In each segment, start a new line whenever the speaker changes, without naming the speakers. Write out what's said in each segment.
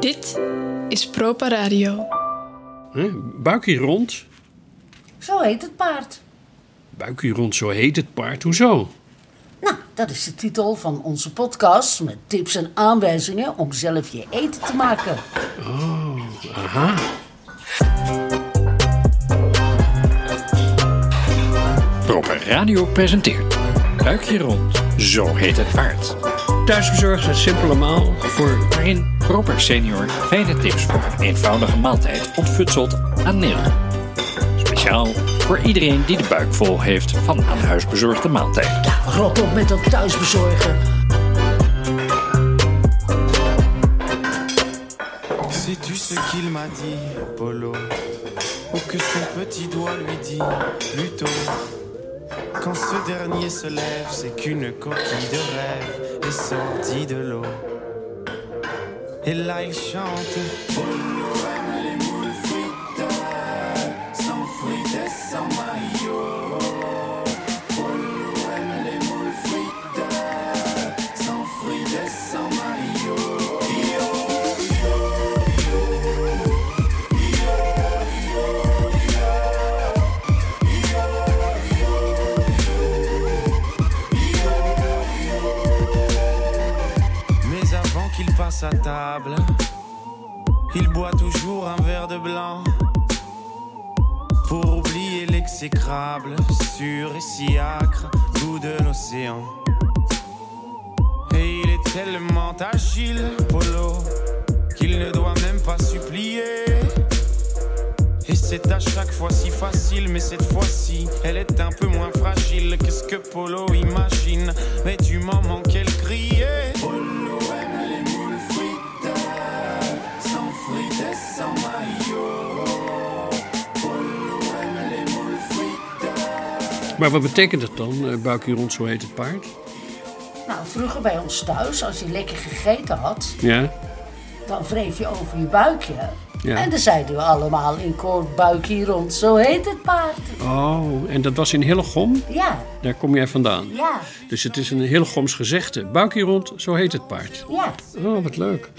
Dit is Propa Radio.
Hè? Buikje rond.
Zo heet het paard.
Buikje rond, zo heet het paard. Hoezo?
Nou, dat is de titel van onze podcast met tips en aanwijzingen om zelf je eten te maken.
Aha.
Proper Radio presenteert Buikje Rond, Zo Heet Het Paard. Thuisbezorgd het simpele maal voor waarin Proper Senior fijne tips voor een eenvoudige maaltijd ontfutselt aan Nil. Speciaal voor iedereen die de buik vol heeft van aan huis bezorgde maaltijd.
Rot op met dat thuisbezorgen.
Sais-tu ce qu'il m'a dit, Polo Ou que son petit doigt lui dit, plutôt Quand ce dernier se lève, c'est qu'une coquille de rêve est sortie de l'eau. Et là il chante Polo aime les moules frites, sans frites et sans maillot. Polo aime les moules frites, sans frites et sans maillot. Mais avant qu'il passe à table, il boit toujours un verre de blanc pour oublier l'exécrable, sûr et si acre, goût de l'océan. Et il est tellement agile, Polo, qu'il ne doit même pas supplier. Et c'est à chaque fois si facile, mais cette fois-ci, elle est un peu moins fragile que ce que Polo imagine. Mais du moment qu'elle criait.
Maar wat betekent dat dan, eh, buikje rond, zo heet het paard?
Nou, vroeger bij ons thuis, als je lekker gegeten had,
Ja,
dan wreef je over je buikje.
Ja.
En dan zeiden we allemaal in koor buikje rond, zo heet het paard.
oh, en dat was in Hillegom?
Ja,
Daar kom jij vandaan.
ja,
Dus het is een Hillegoms gezegde. Buikje rond, zo heet het paard.
ja.
Oh, wat leuk.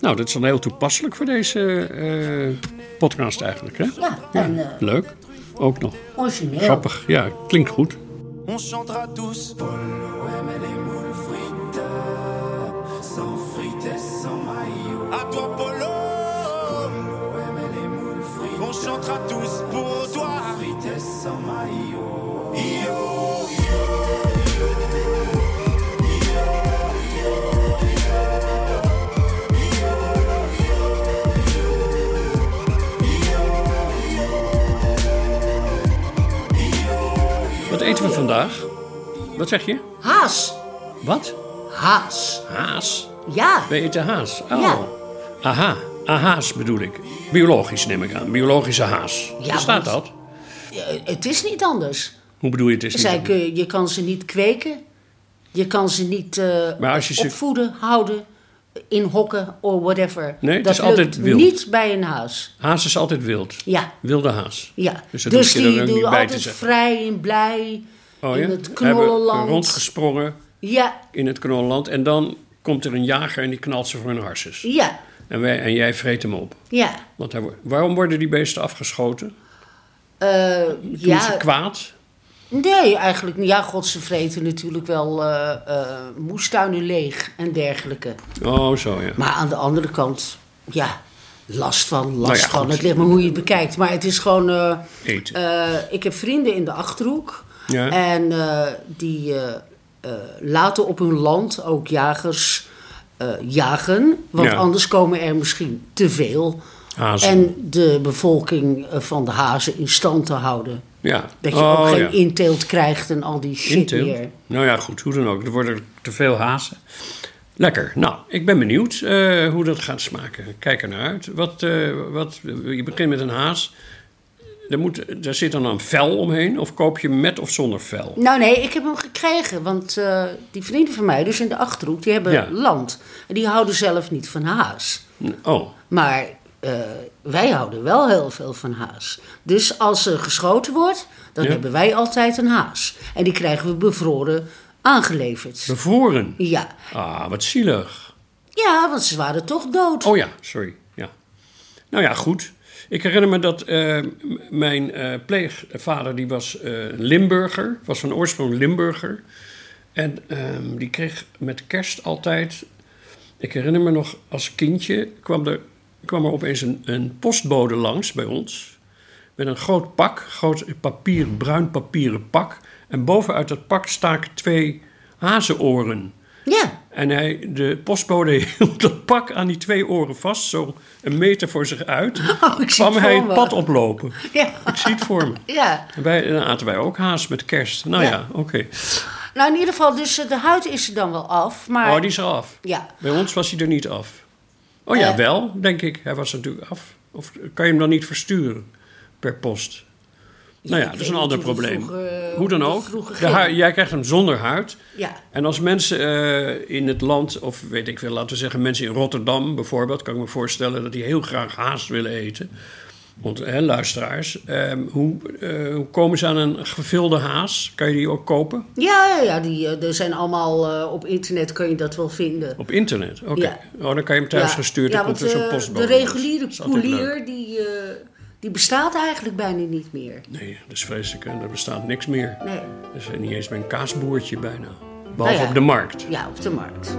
Nou, dat is dan heel toepasselijk voor deze eh, podcast eigenlijk, hè?
Ja, en eh,
Leuk. Ook nog.
origineel.
Grappig. Ja, klinkt goed.
on chantera tous. Polo aime les moules frites, sans frites et sans maillot. À toi, Polo. Polo aime les moules frites, on chantera tous pour toi. Sans frites et sans maillot. Io,
Wat eten we vandaag? Wat zeg je?
Haas,
Wat?
haas.
Haas.
Ja,
Wij eten haas. Oh.
Ja.
Aha, ah, haas bedoel ik. Biologisch neem ik aan. Biologische haas.
Ja,
Bestaat
want-
dat?
eh, het is niet anders.
Hoe bedoel je het? Is niet
Zij kun, je kan ze niet kweken. Je kan ze niet eh,
Maar als je ze-
opvoeden, houden, in hokken of whatever.
Nee, het
dat
is altijd
lukt
wild.
niet bij een huis.
Haas is altijd wild.
Ja,
Wilde haas.
ja.
Dus
Dus,
dat hoef je er
die
ook
doen
niet bij te
altijd
zeggen.
vrij en blij
Oh,
in
ja?
het
Hebben
knollenland.
rondgesprongen
Ja,
in het knollenland. En dan komt er een jager en die knalt ze voor hun harses.
ja,
En, wij, en jij vreet hem op.
ja.
Want hij, wordt- waarom worden die beesten afgeschoten?
Eh,
Doen ze
ja,
kwaad?
nee, eigenlijk niet. Ja, god, ze vreten natuurlijk wel eh, eh, moestuinen leeg en dergelijke.
Oh, zo ja.
Maar aan de andere kant, ja, last van, last
Nou ja,
van.
goed.
Het ligt maar hoe je het bekijkt. Maar het is gewoon... eh,
Eten.
eh, ik heb vrienden in de Achterhoek.
Ja.
En eh, die eh, eh, laten op hun land ook jagers eh, jagen. Want
Ja.
anders komen er misschien te veel.
Hazen.
En de bevolking eh, van de hazen in stand te houden.
ja.
Dat je
Oh,
ook geen
ja.
inteelt krijgt en al die shit
Inteelt.
meer.
Nou ja, goed, hoe dan ook. Er worden te veel hazen. Lekker. Nou, ik ben benieuwd eh, hoe dat gaat smaken. Kijk er naar uit. Wat, eh, wat, je begint met een haas. Er moet, daar zit dan een vel omheen. Of koop je met of zonder vel?
Nou nee, ik heb hem gekregen. Want eh, die vrienden van mij, dus in de Achterhoek, die hebben
Ja.
land. En die houden zelf niet van haas.
Oh,
Maar eh, wij houden wel heel veel van haas. Dus als er geschoten wordt, dan
Ja.
hebben wij altijd een haas. En die krijgen we bevroren aangeleverd.
bevroren.
Ja.
Ah, wat zielig.
ja, Ja, want ze waren toch dood.
Oh ja, sorry. Ja. Nou ja, goed. Ik herinner me dat eh, m- mijn eh, pleegvader, die was eh, Limburger, was van oorsprong Limburger. En ehm, die kreeg met kerst altijd. Ik herinner me nog als kindje kwam er, kwam er opeens een, een postbode langs bij ons. Met een groot pak, groot papier, bruin papieren pak. En bovenuit dat pak staken twee hazenoren.
Ja,
En hij, de postbode hield dat pak aan die twee oren vast, zo een meter voor zich uit.
Oh, ik zie
kwam
het
hij
voor
het
me.
pad oplopen.
Ja.
Ik zie het voor me.
ja.
En wij, dan aten wij ook haas met kerst. Nou ja,
Ja.
oké.
Nou, in ieder geval, dus eh, de huid is er dan wel af. Maar
Oh, die is eraf.
Ja.
Bij ons was hij er niet af. Oh ja,
Eh.
wel, denk ik. Hij was natuurlijk af. Of kan je hem dan niet versturen per post? Nou ja, dat is
weet
een
niet
ander
hoe dat
probleem.
vroeger, eh,
hoe dan
hoe dat
ook.
vroeger
De
ging.
hui- jij krijgt hem zonder huid.
Ja.
En als mensen eh, in het land, of weet ik veel, laten we zeggen mensen in Rotterdam bijvoorbeeld, kan ik me voorstellen dat die heel graag haast willen eten. Want hè, luisteraars, ehm, hoe, eh, hoe komen ze aan een gevulde haas? Kan je die ook kopen?
Ja, ja, ja die, eh, er zijn allemaal eh, op internet kun je dat wel vinden.
Op internet? Oké.
Ja.
Oh, dan kan je hem thuis
ja.
gestuurd
ja,
en komt
want,
er zo'n
eh,
postbode.
De
langs.
reguliere
Dat is altijd leuk.
koelier, die, eh, die bestaat eigenlijk bijna niet meer.
Nee, dat is vreselijk. hè. Er bestaat niks meer.
Nee.
Er is niet eens meer een kaasboertje bijna. Behalve
Nou ja.
op de markt.
Ja, op de markt.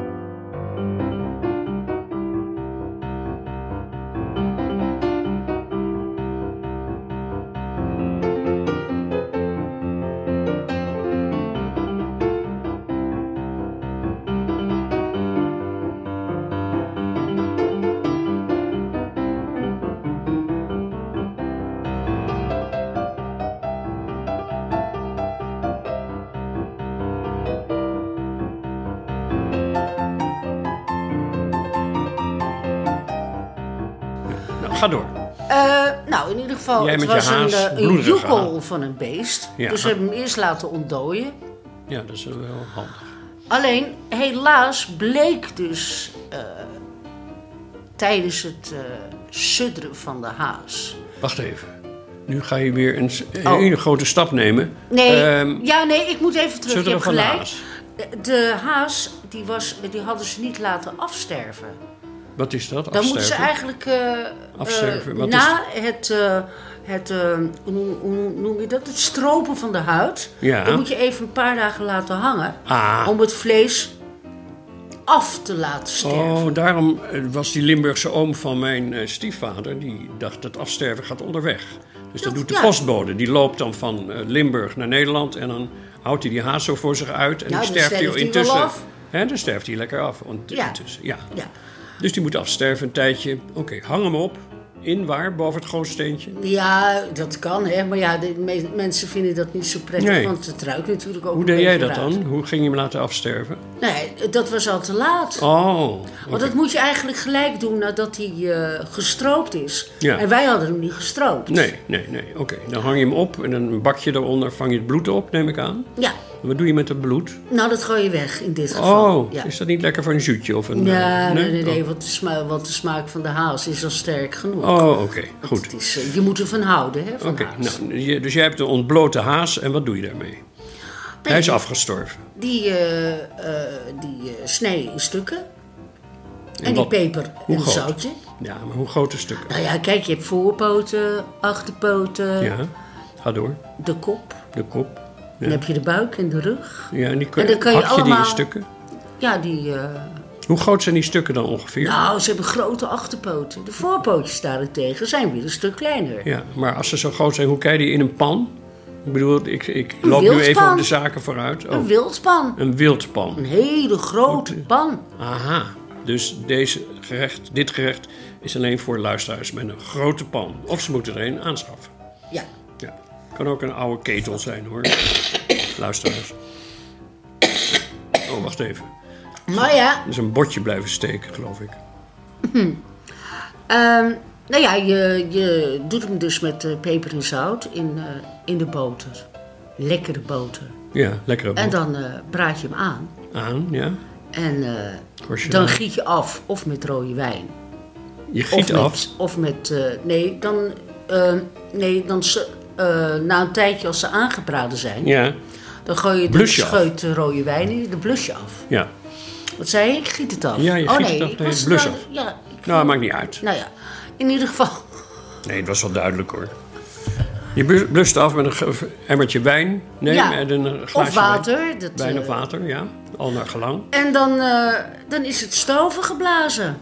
Nou, ga door.
Eh, nou, in ieder geval,
Jij
het
met je
was een,
haas,
eh, een
bloederige
joekel
haas.
van een beest.
Ja.
Dus we hebben hem eerst laten ontdooien.
Ja, dat is wel handig.
Alleen, helaas bleek dus eh, tijdens het eh sudderen van de haas...
Wacht even. Nu ga je weer een s- een
Oh.
hele grote stap nemen.
Nee,
Ehm,
ja, nee, ik moet even terug. Je
sudderen
hebt
van de
gelijk.
haas.
De- De haas, die, was, die hadden ze niet laten afsterven.
wat is dat?
Dan moeten ze
Afsterven?
eigenlijk eh, eh,
Afsterven, wat is
na het, eh, het eh, hoe, noem- hoe noem je dat? Het stropen van de huid.
Ja.
Dan moet je even een paar dagen laten hangen.
Ah.
Om het vlees af te laten sterven.
Oh, daarom eh, was die Limburgse oom van mijn eh, stiefvader... die dacht dat afsterven gaat onderweg. Dus dat
Dat-
doet de
ja.
postbode. Die loopt dan van eh, Limburg naar Nederland... en dan houdt hij die haas zo voor zich uit... en die
Nou, dan
sterft hij
sterft hij wel
intussen...
af.
Hè, dan sterft hij lekker af. ont-
Ja.
Intussen. ja.
Ja.
Dus die moet afsterven een tijdje. Oké, hang hem op. In waar? Boven het gootsteentje?
ja, dat kan, hè. Maar ja, de me- mensen vinden dat niet zo prettig.
Nee.
Want het ruikt natuurlijk ook
Hoe
een
deed jij
beetje
dat
raar.
dan? Hoe ging je hem laten afsterven?
Nee, dat was al te laat.
Oh,
Want dat moet je eigenlijk gelijk doen nadat hij eh, gestroopt is.
Ja.
En wij hadden hem niet gestroopt.
nee, nee, nee. Oké, dan hang je hem op en een bakje eronder vang je het bloed op, neem ik aan.
Ja,
En wat doe je met het bloed?
nou dat gooi je weg in dit geval.
Oh,
ja.
is dat niet lekker voor een zuutje of een...
Ja,
eh,
nee, nee,
Oh.
nee, want de, sma- want de smaak van de haas is al sterk genoeg.
Oh, oké, goed.
Het is, eh, je moet ervan houden, hè, van
Oké,
haas.
nou, je- dus jij hebt een ontblote haas en wat doe je daarmee? Hij is afgestorven.
Die, eh, eh, die eh, snij je in stukken. En, die
wat-
peper
hoe
en
groot?
zoutje.
Ja, maar hoe grote stukken?
Nou ja, kijk, je hebt voorpoten, achterpoten,
Ja, ga door.
de kop.
De kop.
Dan heb je de buik en de rug.
Ja, en die kun,
En dan kan je
hak je die
allemaal-
in stukken?
Ja, die... eh,
Hoe groot zijn die stukken dan ongeveer?
Nou, ze hebben grote achterpoten. De voorpootjes daarentegen zijn weer een stuk kleiner.
Ja, maar als ze zo groot zijn, hoe kijk je die in een pan? Ik bedoel, ik, ik loop nu even
wildpan.
op de zaken vooruit. Oh,
Een wildpan.
een wildpan.
Een hele grote pan.
Aha. Dus deze gerecht, dit gerecht is alleen voor luisteraars met een grote pan. Of ze moeten er een aanschaffen.
Ja.
Ja. Kan ook een oude ketel zijn hoor. luisteraars. Oh, wacht even.
Maar ja,
Er is een bordje blijven steken, geloof ik.
ehm, nou ja, je, je doet hem dus met eh, peper en zout in, eh, in de boter. Lekkere boter.
Ja, lekker
En dan eh, braad je hem aan.
aan, ja.
En eh,
Korstje
dan
aan.
giet je af of met rode wijn.
Je
Of
giet
met,
af.
Of met, eh, nee, dan, eh, nee, dan ze- eh, na een tijdje als ze aangebraden zijn,
Ja,
Dan gooi je de
Blusje af.
scheut eh, rode wijn in, de blusje af.
ja.
Wat zei je? Ik giet het af.
Ja, je
oh,
giet
nee,
het af.
ik
Nee,
was
blus
wel-
af.
Ja, ik-
Nou, maakt niet uit.
nou ja, in ieder geval.
Nee, het was wel duidelijk hoor. Je blu- blust af met een ge- emmertje wijn. Nee,
Ja.
en een eh, glaasje
Of water.
Wijn,
Dat,
Wijn
eh,
of water, ja. Al naar gelang.
En dan, eh, dan is het stoven geblazen.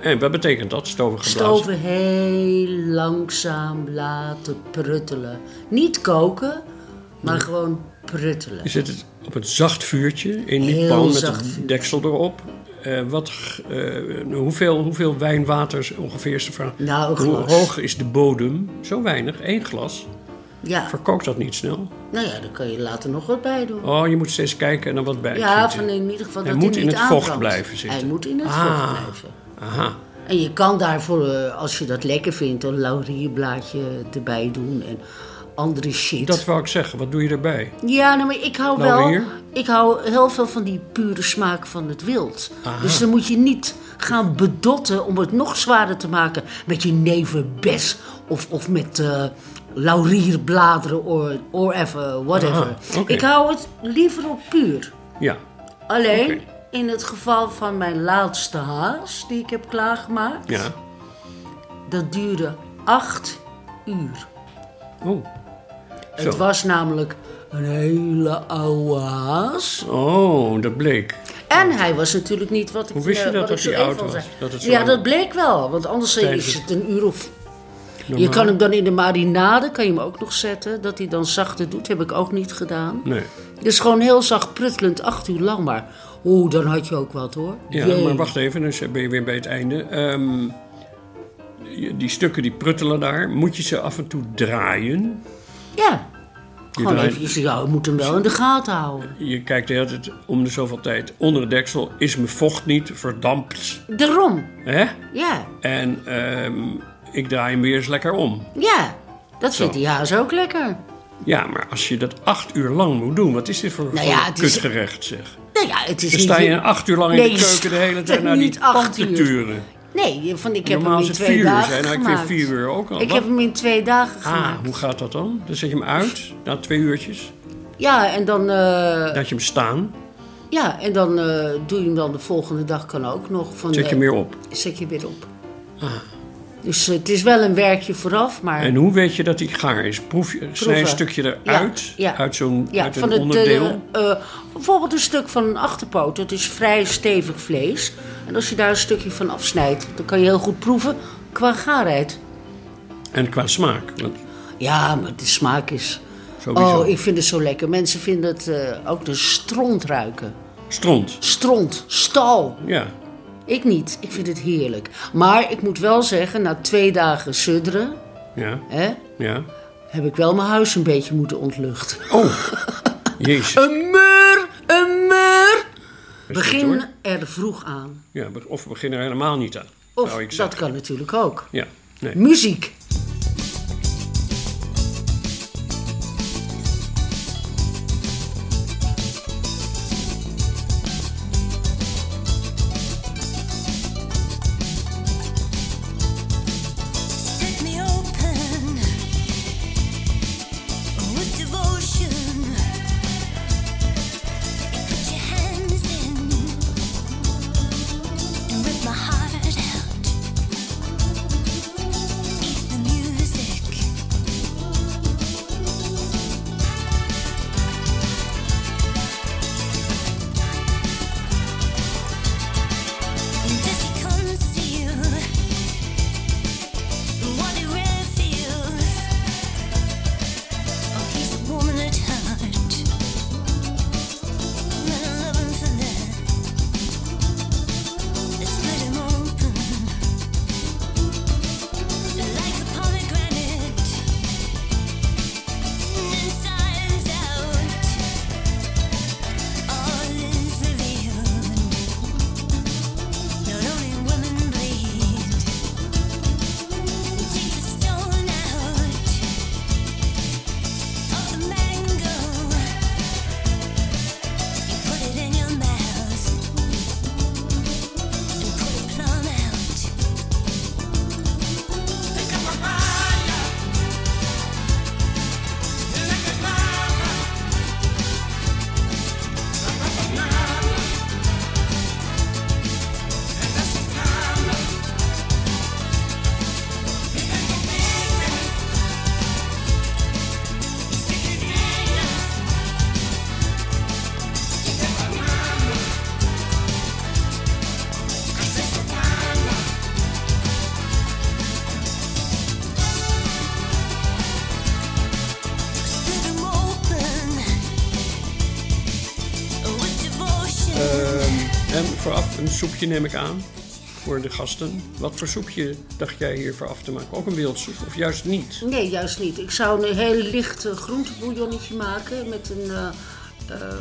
En wat betekent dat? Stoven geblazen?
Stoven heel langzaam laten pruttelen. Niet koken,
Mm.
maar gewoon pruttelen.
Je zet het op een zacht vuurtje in die
Heel
pan met
zacht
een
vuur.
deksel erop. Eh, wat, g- eh, hoeveel, hoeveel wijnwater is ongeveer is de vraag?
Nou, een
Hoe
glas.
hoog is de bodem? Zo weinig, één glas.
Ja,
Verkookt dat niet snel?
nou ja, daar kan je later nog wat bij doen.
Oh, je moet steeds kijken en dan wat bij.
Ja,
zitten.
van in ieder geval
Hij
dat
moet
hij
in
niet
het vocht
aanbrandt.
blijven zitten.
Hij moet in het
Ah.
vocht blijven.
Aha.
En je kan daarvoor, eh, als je dat lekker vindt, een laurierblaadje erbij doen en andere shit.
Dat wou ik zeggen. Wat doe je erbij?
Ja, nou, maar ik hou
Laurier?
wel. Ik hou heel veel van die pure smaak van het wild. Dus dan moet je niet gaan bedotten om het nog zwaarder te maken met je nevenbes of, of met eh, laurierbladeren or, or even, whatever.
Aha, oké.
Ik hou het liever op puur.
Ja.
Alleen
Oké.
in het geval van mijn laatste haas die ik heb klaargemaakt,
Ja.
dat duurde acht uur.
Oh. Zo.
Het was namelijk een hele oude haas.
Oh, dat bleek.
En hij was natuurlijk niet wat ik
Hoe wist je
eh,
dat
wat
dat
ik zo
hij
even
oud
al
was?
zei.
Dat het zo
ja,
lang-
dat bleek wel, want anders
Tijdens
is
het-
het een uur of. Je
Normaal.
kan hem dan in de marinade kan je hem ook nog zetten, dat hij dan zachter doet, heb ik ook niet gedaan.
Nee.
Dus gewoon heel zacht pruttelend, acht uur lang maar. Oeh, dan had je ook wat hoor.
Ja,
Jee.
maar wacht even. Dus ben je weer bij het einde. Ehm, je- die stukken die pruttelen daar. Moet je ze af en toe draaien?
Ja,
Je,
gewoon
draait-
even. Ja, je moet hem wel in de gaten houden.
je kijkt de hele tijd om de zoveel tijd onder het deksel. Is mijn vocht niet verdampt?
Daarom,
Hè?
ja,
En ehm, ik draai hem weer eens lekker om.
ja. Dat vindt die haas ook lekker.
Ja, maar als je dat acht uur lang moet doen, wat is dit voor,
Nou ja,
voor
het is-
kutgerecht zeg?
Nou ja, het is
Dan
niet-
sta je acht uur lang in
Nee,
de
je
keuken de hele
staat
tijd
er
naar die
niet acht
pan te
uur.
turen.
Nee, van ik heb
Normaal
hem
is het
in twee
vier uur,
dagen
hè? Nou, ik vind
gemaakt.
vier uur ook al.
Ik
Wat?
heb hem in twee dagen
Ah,
gemaakt.
hoe gaat dat dan? Dan zet je hem uit na twee uurtjes.
Ja, en dan, eh,
Laat je hem staan.
ja, en dan eh, doe je hem dan de volgende dag kan ook nog. Van,
Zet je
eh,
hem weer op. Ah.
Zet je weer op. Dus eh, het is wel een werkje vooraf, maar...
En hoe weet je dat hij gaar is? Proef je, snij een
Proeven.
stukje
Ja,
eruit,
ja.
uit zo'n
Ja,
uit
van
een
het,
onderdeel.
eh, eh, bijvoorbeeld een stuk van een achterpoot. Dat is vrij stevig vlees. En als je daar een stukje van afsnijdt, dan kan je heel goed proeven qua gaarheid.
En qua smaak. Want
Ja, maar de smaak is...
sowieso.
Oh, ik vind het zo lekker. Mensen vinden het eh, ook de stront ruiken.
Stront.
Stront, stal.
Ja.
Ik niet. Ik vind het heerlijk. Maar ik moet wel zeggen, na twee dagen sudderen,
Ja.
hè,
Ja.
heb ik wel mijn huis een beetje moeten ontluchten.
Oh. Jezus.
Een mur, een
Dat
mur.
is goed,
Begin
hoor.
er vroeg aan.
Ja, be- of we beginnen er helemaal niet aan.
Of
zou Nou, ik
dat
zeggen.
kan natuurlijk ook.
Ja. Nee.
Muziek.
Split me open with devotion. You put your hands in and rip my heart out. Even
En vooraf een soepje neem ik aan voor de gasten. Wat voor soepje dacht jij hier vooraf te maken? Ook een wildsoep of juist niet?
Nee, juist niet. Ik zou een heel licht eh, groentebouillonnetje maken met een eh, eh,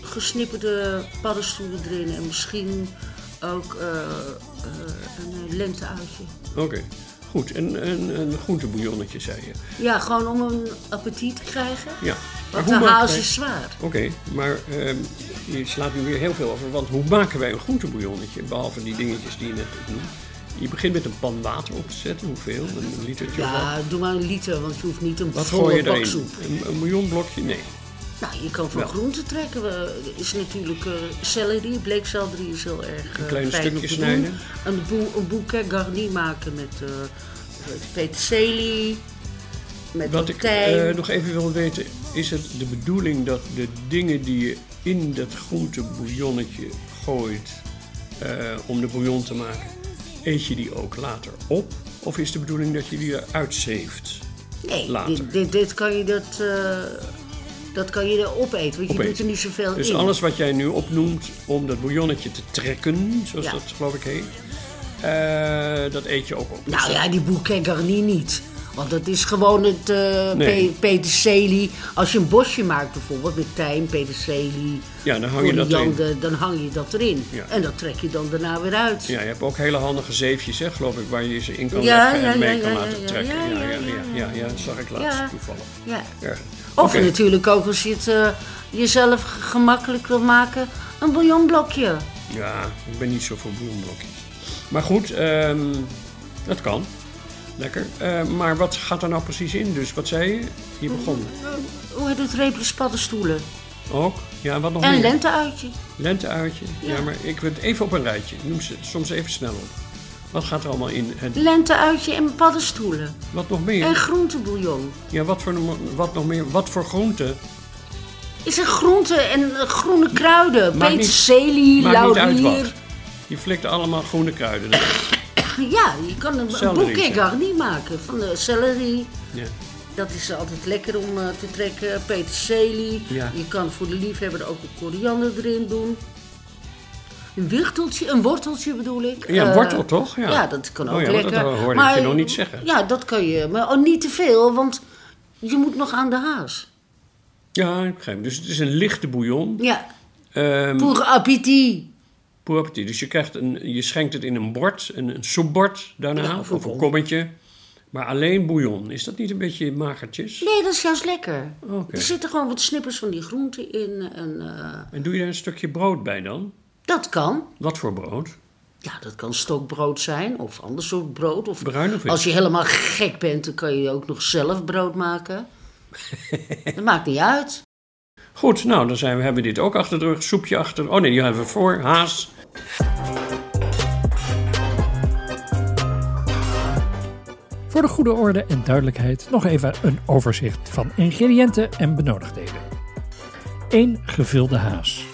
gesnipperde paddenstoelen erin en misschien ook eh, eh, een lenteuitje.
Oké, goed. En een, een groentebouillonnetje, zei je.
Ja, gewoon om een appetit te krijgen.
Ja. Maar
Want
hoe
de
maken
haas
wij-
is zwaar.
Oké, maar ehm, je slaat nu weer heel veel over. Want hoe maken wij een groentebouillonnetje? Behalve die dingetjes die je net noemt. Je begint met een pan water op te zetten. Hoeveel? Een litertje of wat?
Ja, doe maar een liter, want je hoeft niet een
Wat gooi
volle
je
bak
erin?
soep.
Een, een bouillonblokje? Nee.
Nou, je kan van
Ja.
groenten trekken. We- Er is natuurlijk eh, celery, bleekselderie is heel erg eh,
kleine
fijn om
stukjes
te doen.
snijden.
Een, boe, een bouquet garni maken met eh peterselie, met
Wat ik
tijm.
eh, nog even wil weten, is het de bedoeling dat de dingen die je in dat groentebouillonnetje gooit eh, om de bouillon te maken, eet je die ook later op? Of is de bedoeling dat je die eruit zeeft?
nee,
later.
dit, dit, dit kan je dat, eh, dat kan je er opeten, want je
Opeten.
doet er niet zoveel
Dus
in.
alles wat jij nu opnoemt om dat bouillonnetje te trekken, zoals
Ja.
dat geloof ik heet, eh, dat eet je ook op.
Nou ja, die bouquet garni niet. Want dat is gewoon het eh,
Nee.
pe- peterselie. Als je een bosje maakt bijvoorbeeld met tijm, peterselie,
Ja, dan hang je dat
koriander, dan hang je dat erin.
Ja.
En dat trek je dan daarna weer uit.
Ja, je hebt ook hele handige zeefjes, hè, geloof ik, waar je ze in kan
Ja,
leggen en
ja,
mee
ja,
kan
ja,
laten
ja,
trekken.
ja,
Ja,
ja,
ja, ja, ja, ja, dat zag ik laatst
Ja.
toevallig.
Ja.
Erg.
Of
Oké.
natuurlijk ook als je het eh, jezelf g- gemakkelijk wil maken, een bouillonblokje.
Ja, ik ben niet zo voor bloemblokjes. Maar goed, ehm, dat kan. Lekker. Eh, maar wat gaat er nou precies in? Dus wat zei je? Je begon
Hoe heet het? Reepjes paddenstoelen.
ook. Oh, Ja, wat nog
En
meer?
lenteuitje.
Lenteuitje. Ja.
Ja.
maar ik wil het even op een rijtje. Noem ze soms even snel op. Wat gaat er allemaal in? En
Lenteuitje en paddenstoelen.
wat nog meer?
En groentebouillon.
Ja, wat voor, no- wat nog meer? Wat voor groenten?
Is er groenten en eh, groene kruiden?
Maakt niet-
Peterselie,
Maakt niet uit
laurier.
wat. Je flikt allemaal groene kruiden. erin.
Ja, je kan een, een
Celery,
bouquet
zeg.
garni maken van de celery.
ja.
Dat is altijd lekker om eh, te trekken. Peterselie.
Ja.
Je kan voor de liefhebber ook een koriander erin doen. Een worteltje, een worteltje bedoel ik.
Ja, een
Eh,
wortel toch? Ja.
dat kan
Oh
ook
ja, want dat
lekker.
hoorde ik
Maar,
je nog niet zeggen.
Ja, dat kan je. Maar oh, niet te veel, want je moet nog aan de haas.
ja, ik begrijp. Dus het is een lichte bouillon.
Ja,
Ehm,
pour appétit.
Pour appétit. Dus je, krijgt een, je schenkt het in een bord, een, een soepbord daarna,
Ja,
of,
of
een
een
kommetje. Maar alleen bouillon. Is dat niet een beetje magertjes?
Nee, dat is juist lekker.
Oké.
Er zitten gewoon wat snippers van die groenten in. En, eh,
En doe je daar een stukje brood bij dan?
dat kan.
Wat voor brood?
Ja, dat kan stokbrood zijn of ander soort brood. Of
Bruin of wit?
als je helemaal gek bent, dan kan je ook nog zelf brood maken. dat maakt niet uit.
Goed, nou, dan zijn we, hebben we dit ook achter de rug. Soepje achter. Oh nee, die hebben we voor. Haas.
Voor de goede orde en duidelijkheid nog even een overzicht van ingrediënten en benodigdheden. 1 gevulde haas.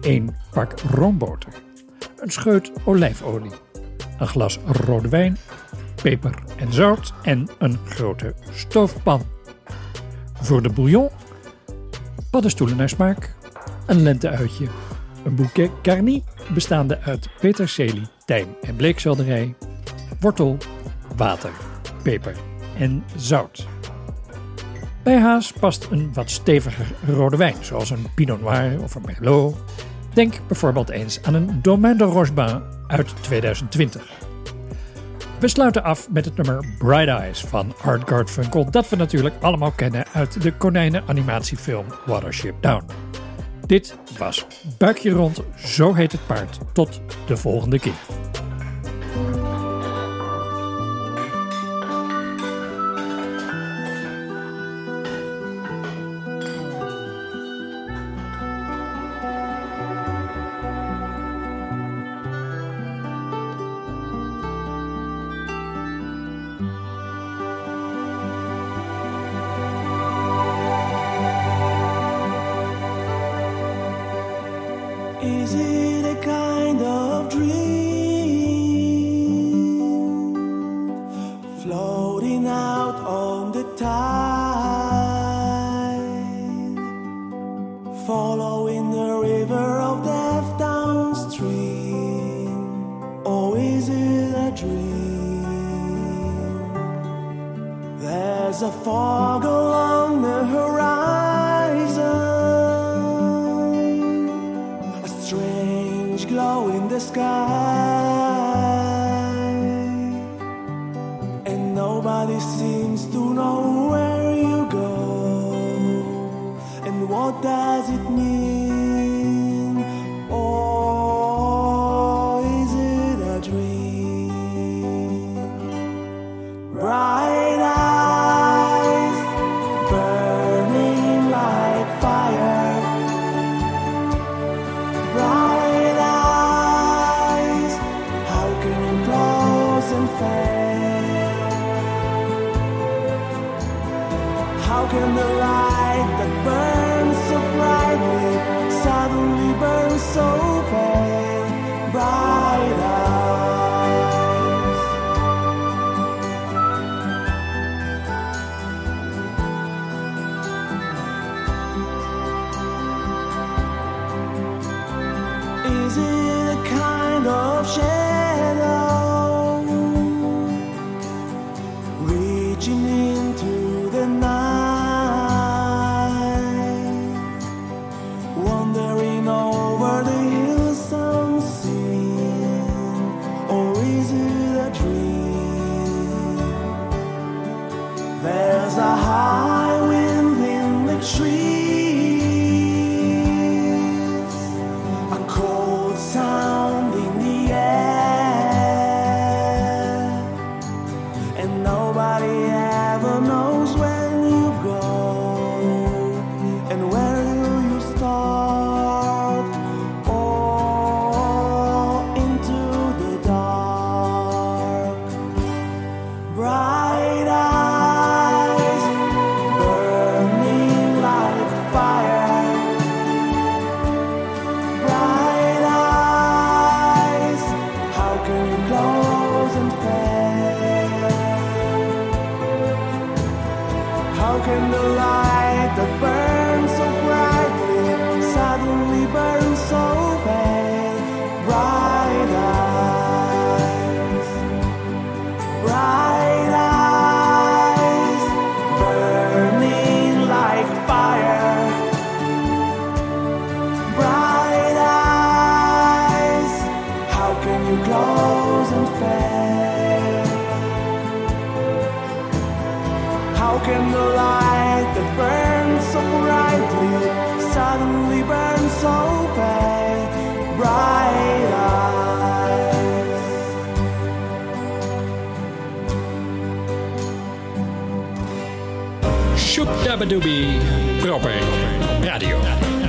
1 pak roomboter. Een scheut olijfolie. Een glas rode wijn. Peper en zout. En een grote stoofpan. Voor de bouillon. Paddenstoelen naar smaak. Een lenteuitje. Een bouquet garni bestaande uit peterselie, tijm en bleekselderij. Wortel, water, peper en zout. Bij haas past een wat steviger rode wijn, zoals een Pinot Noir of een Merlot. Denk bijvoorbeeld eens aan een Domaine de Rochebin uit 2020. We sluiten af met het nummer Bright Eyes van Art Garfunkel, dat we natuurlijk allemaal kennen uit de konijnen-animatiefilm Watership Down. Dit was Buikje Rond, Zo Heet Het Paard. Tot de volgende keer.
Is it a kind of dream?
There's a fog along the horizon, a strange glow in the sky and nobody seems to know where you go and what does it mean or is it a dream bright eyes burning like fire bright eyes how can you close and fade How can the light that burns so brightly suddenly burn so pale? Bright eyes. Is it a kind of shadow? reaching into the night, wandering over the hills unseen, or is it a dream? There's a high wind in the trees, a cold sound in the air and nobody ever knows when you go and where will you start or into the dark bright eyes burning like fire bright eyes how can you close and fade how can the light that burns so brightly suddenly burn so pale bright eyes bright eyes burning like fire bright eyes. How can you close and fade? How can the light that burns so brightly suddenly burn so pale? Bright eyes.
Shoepdabadoobie. Proper Radio.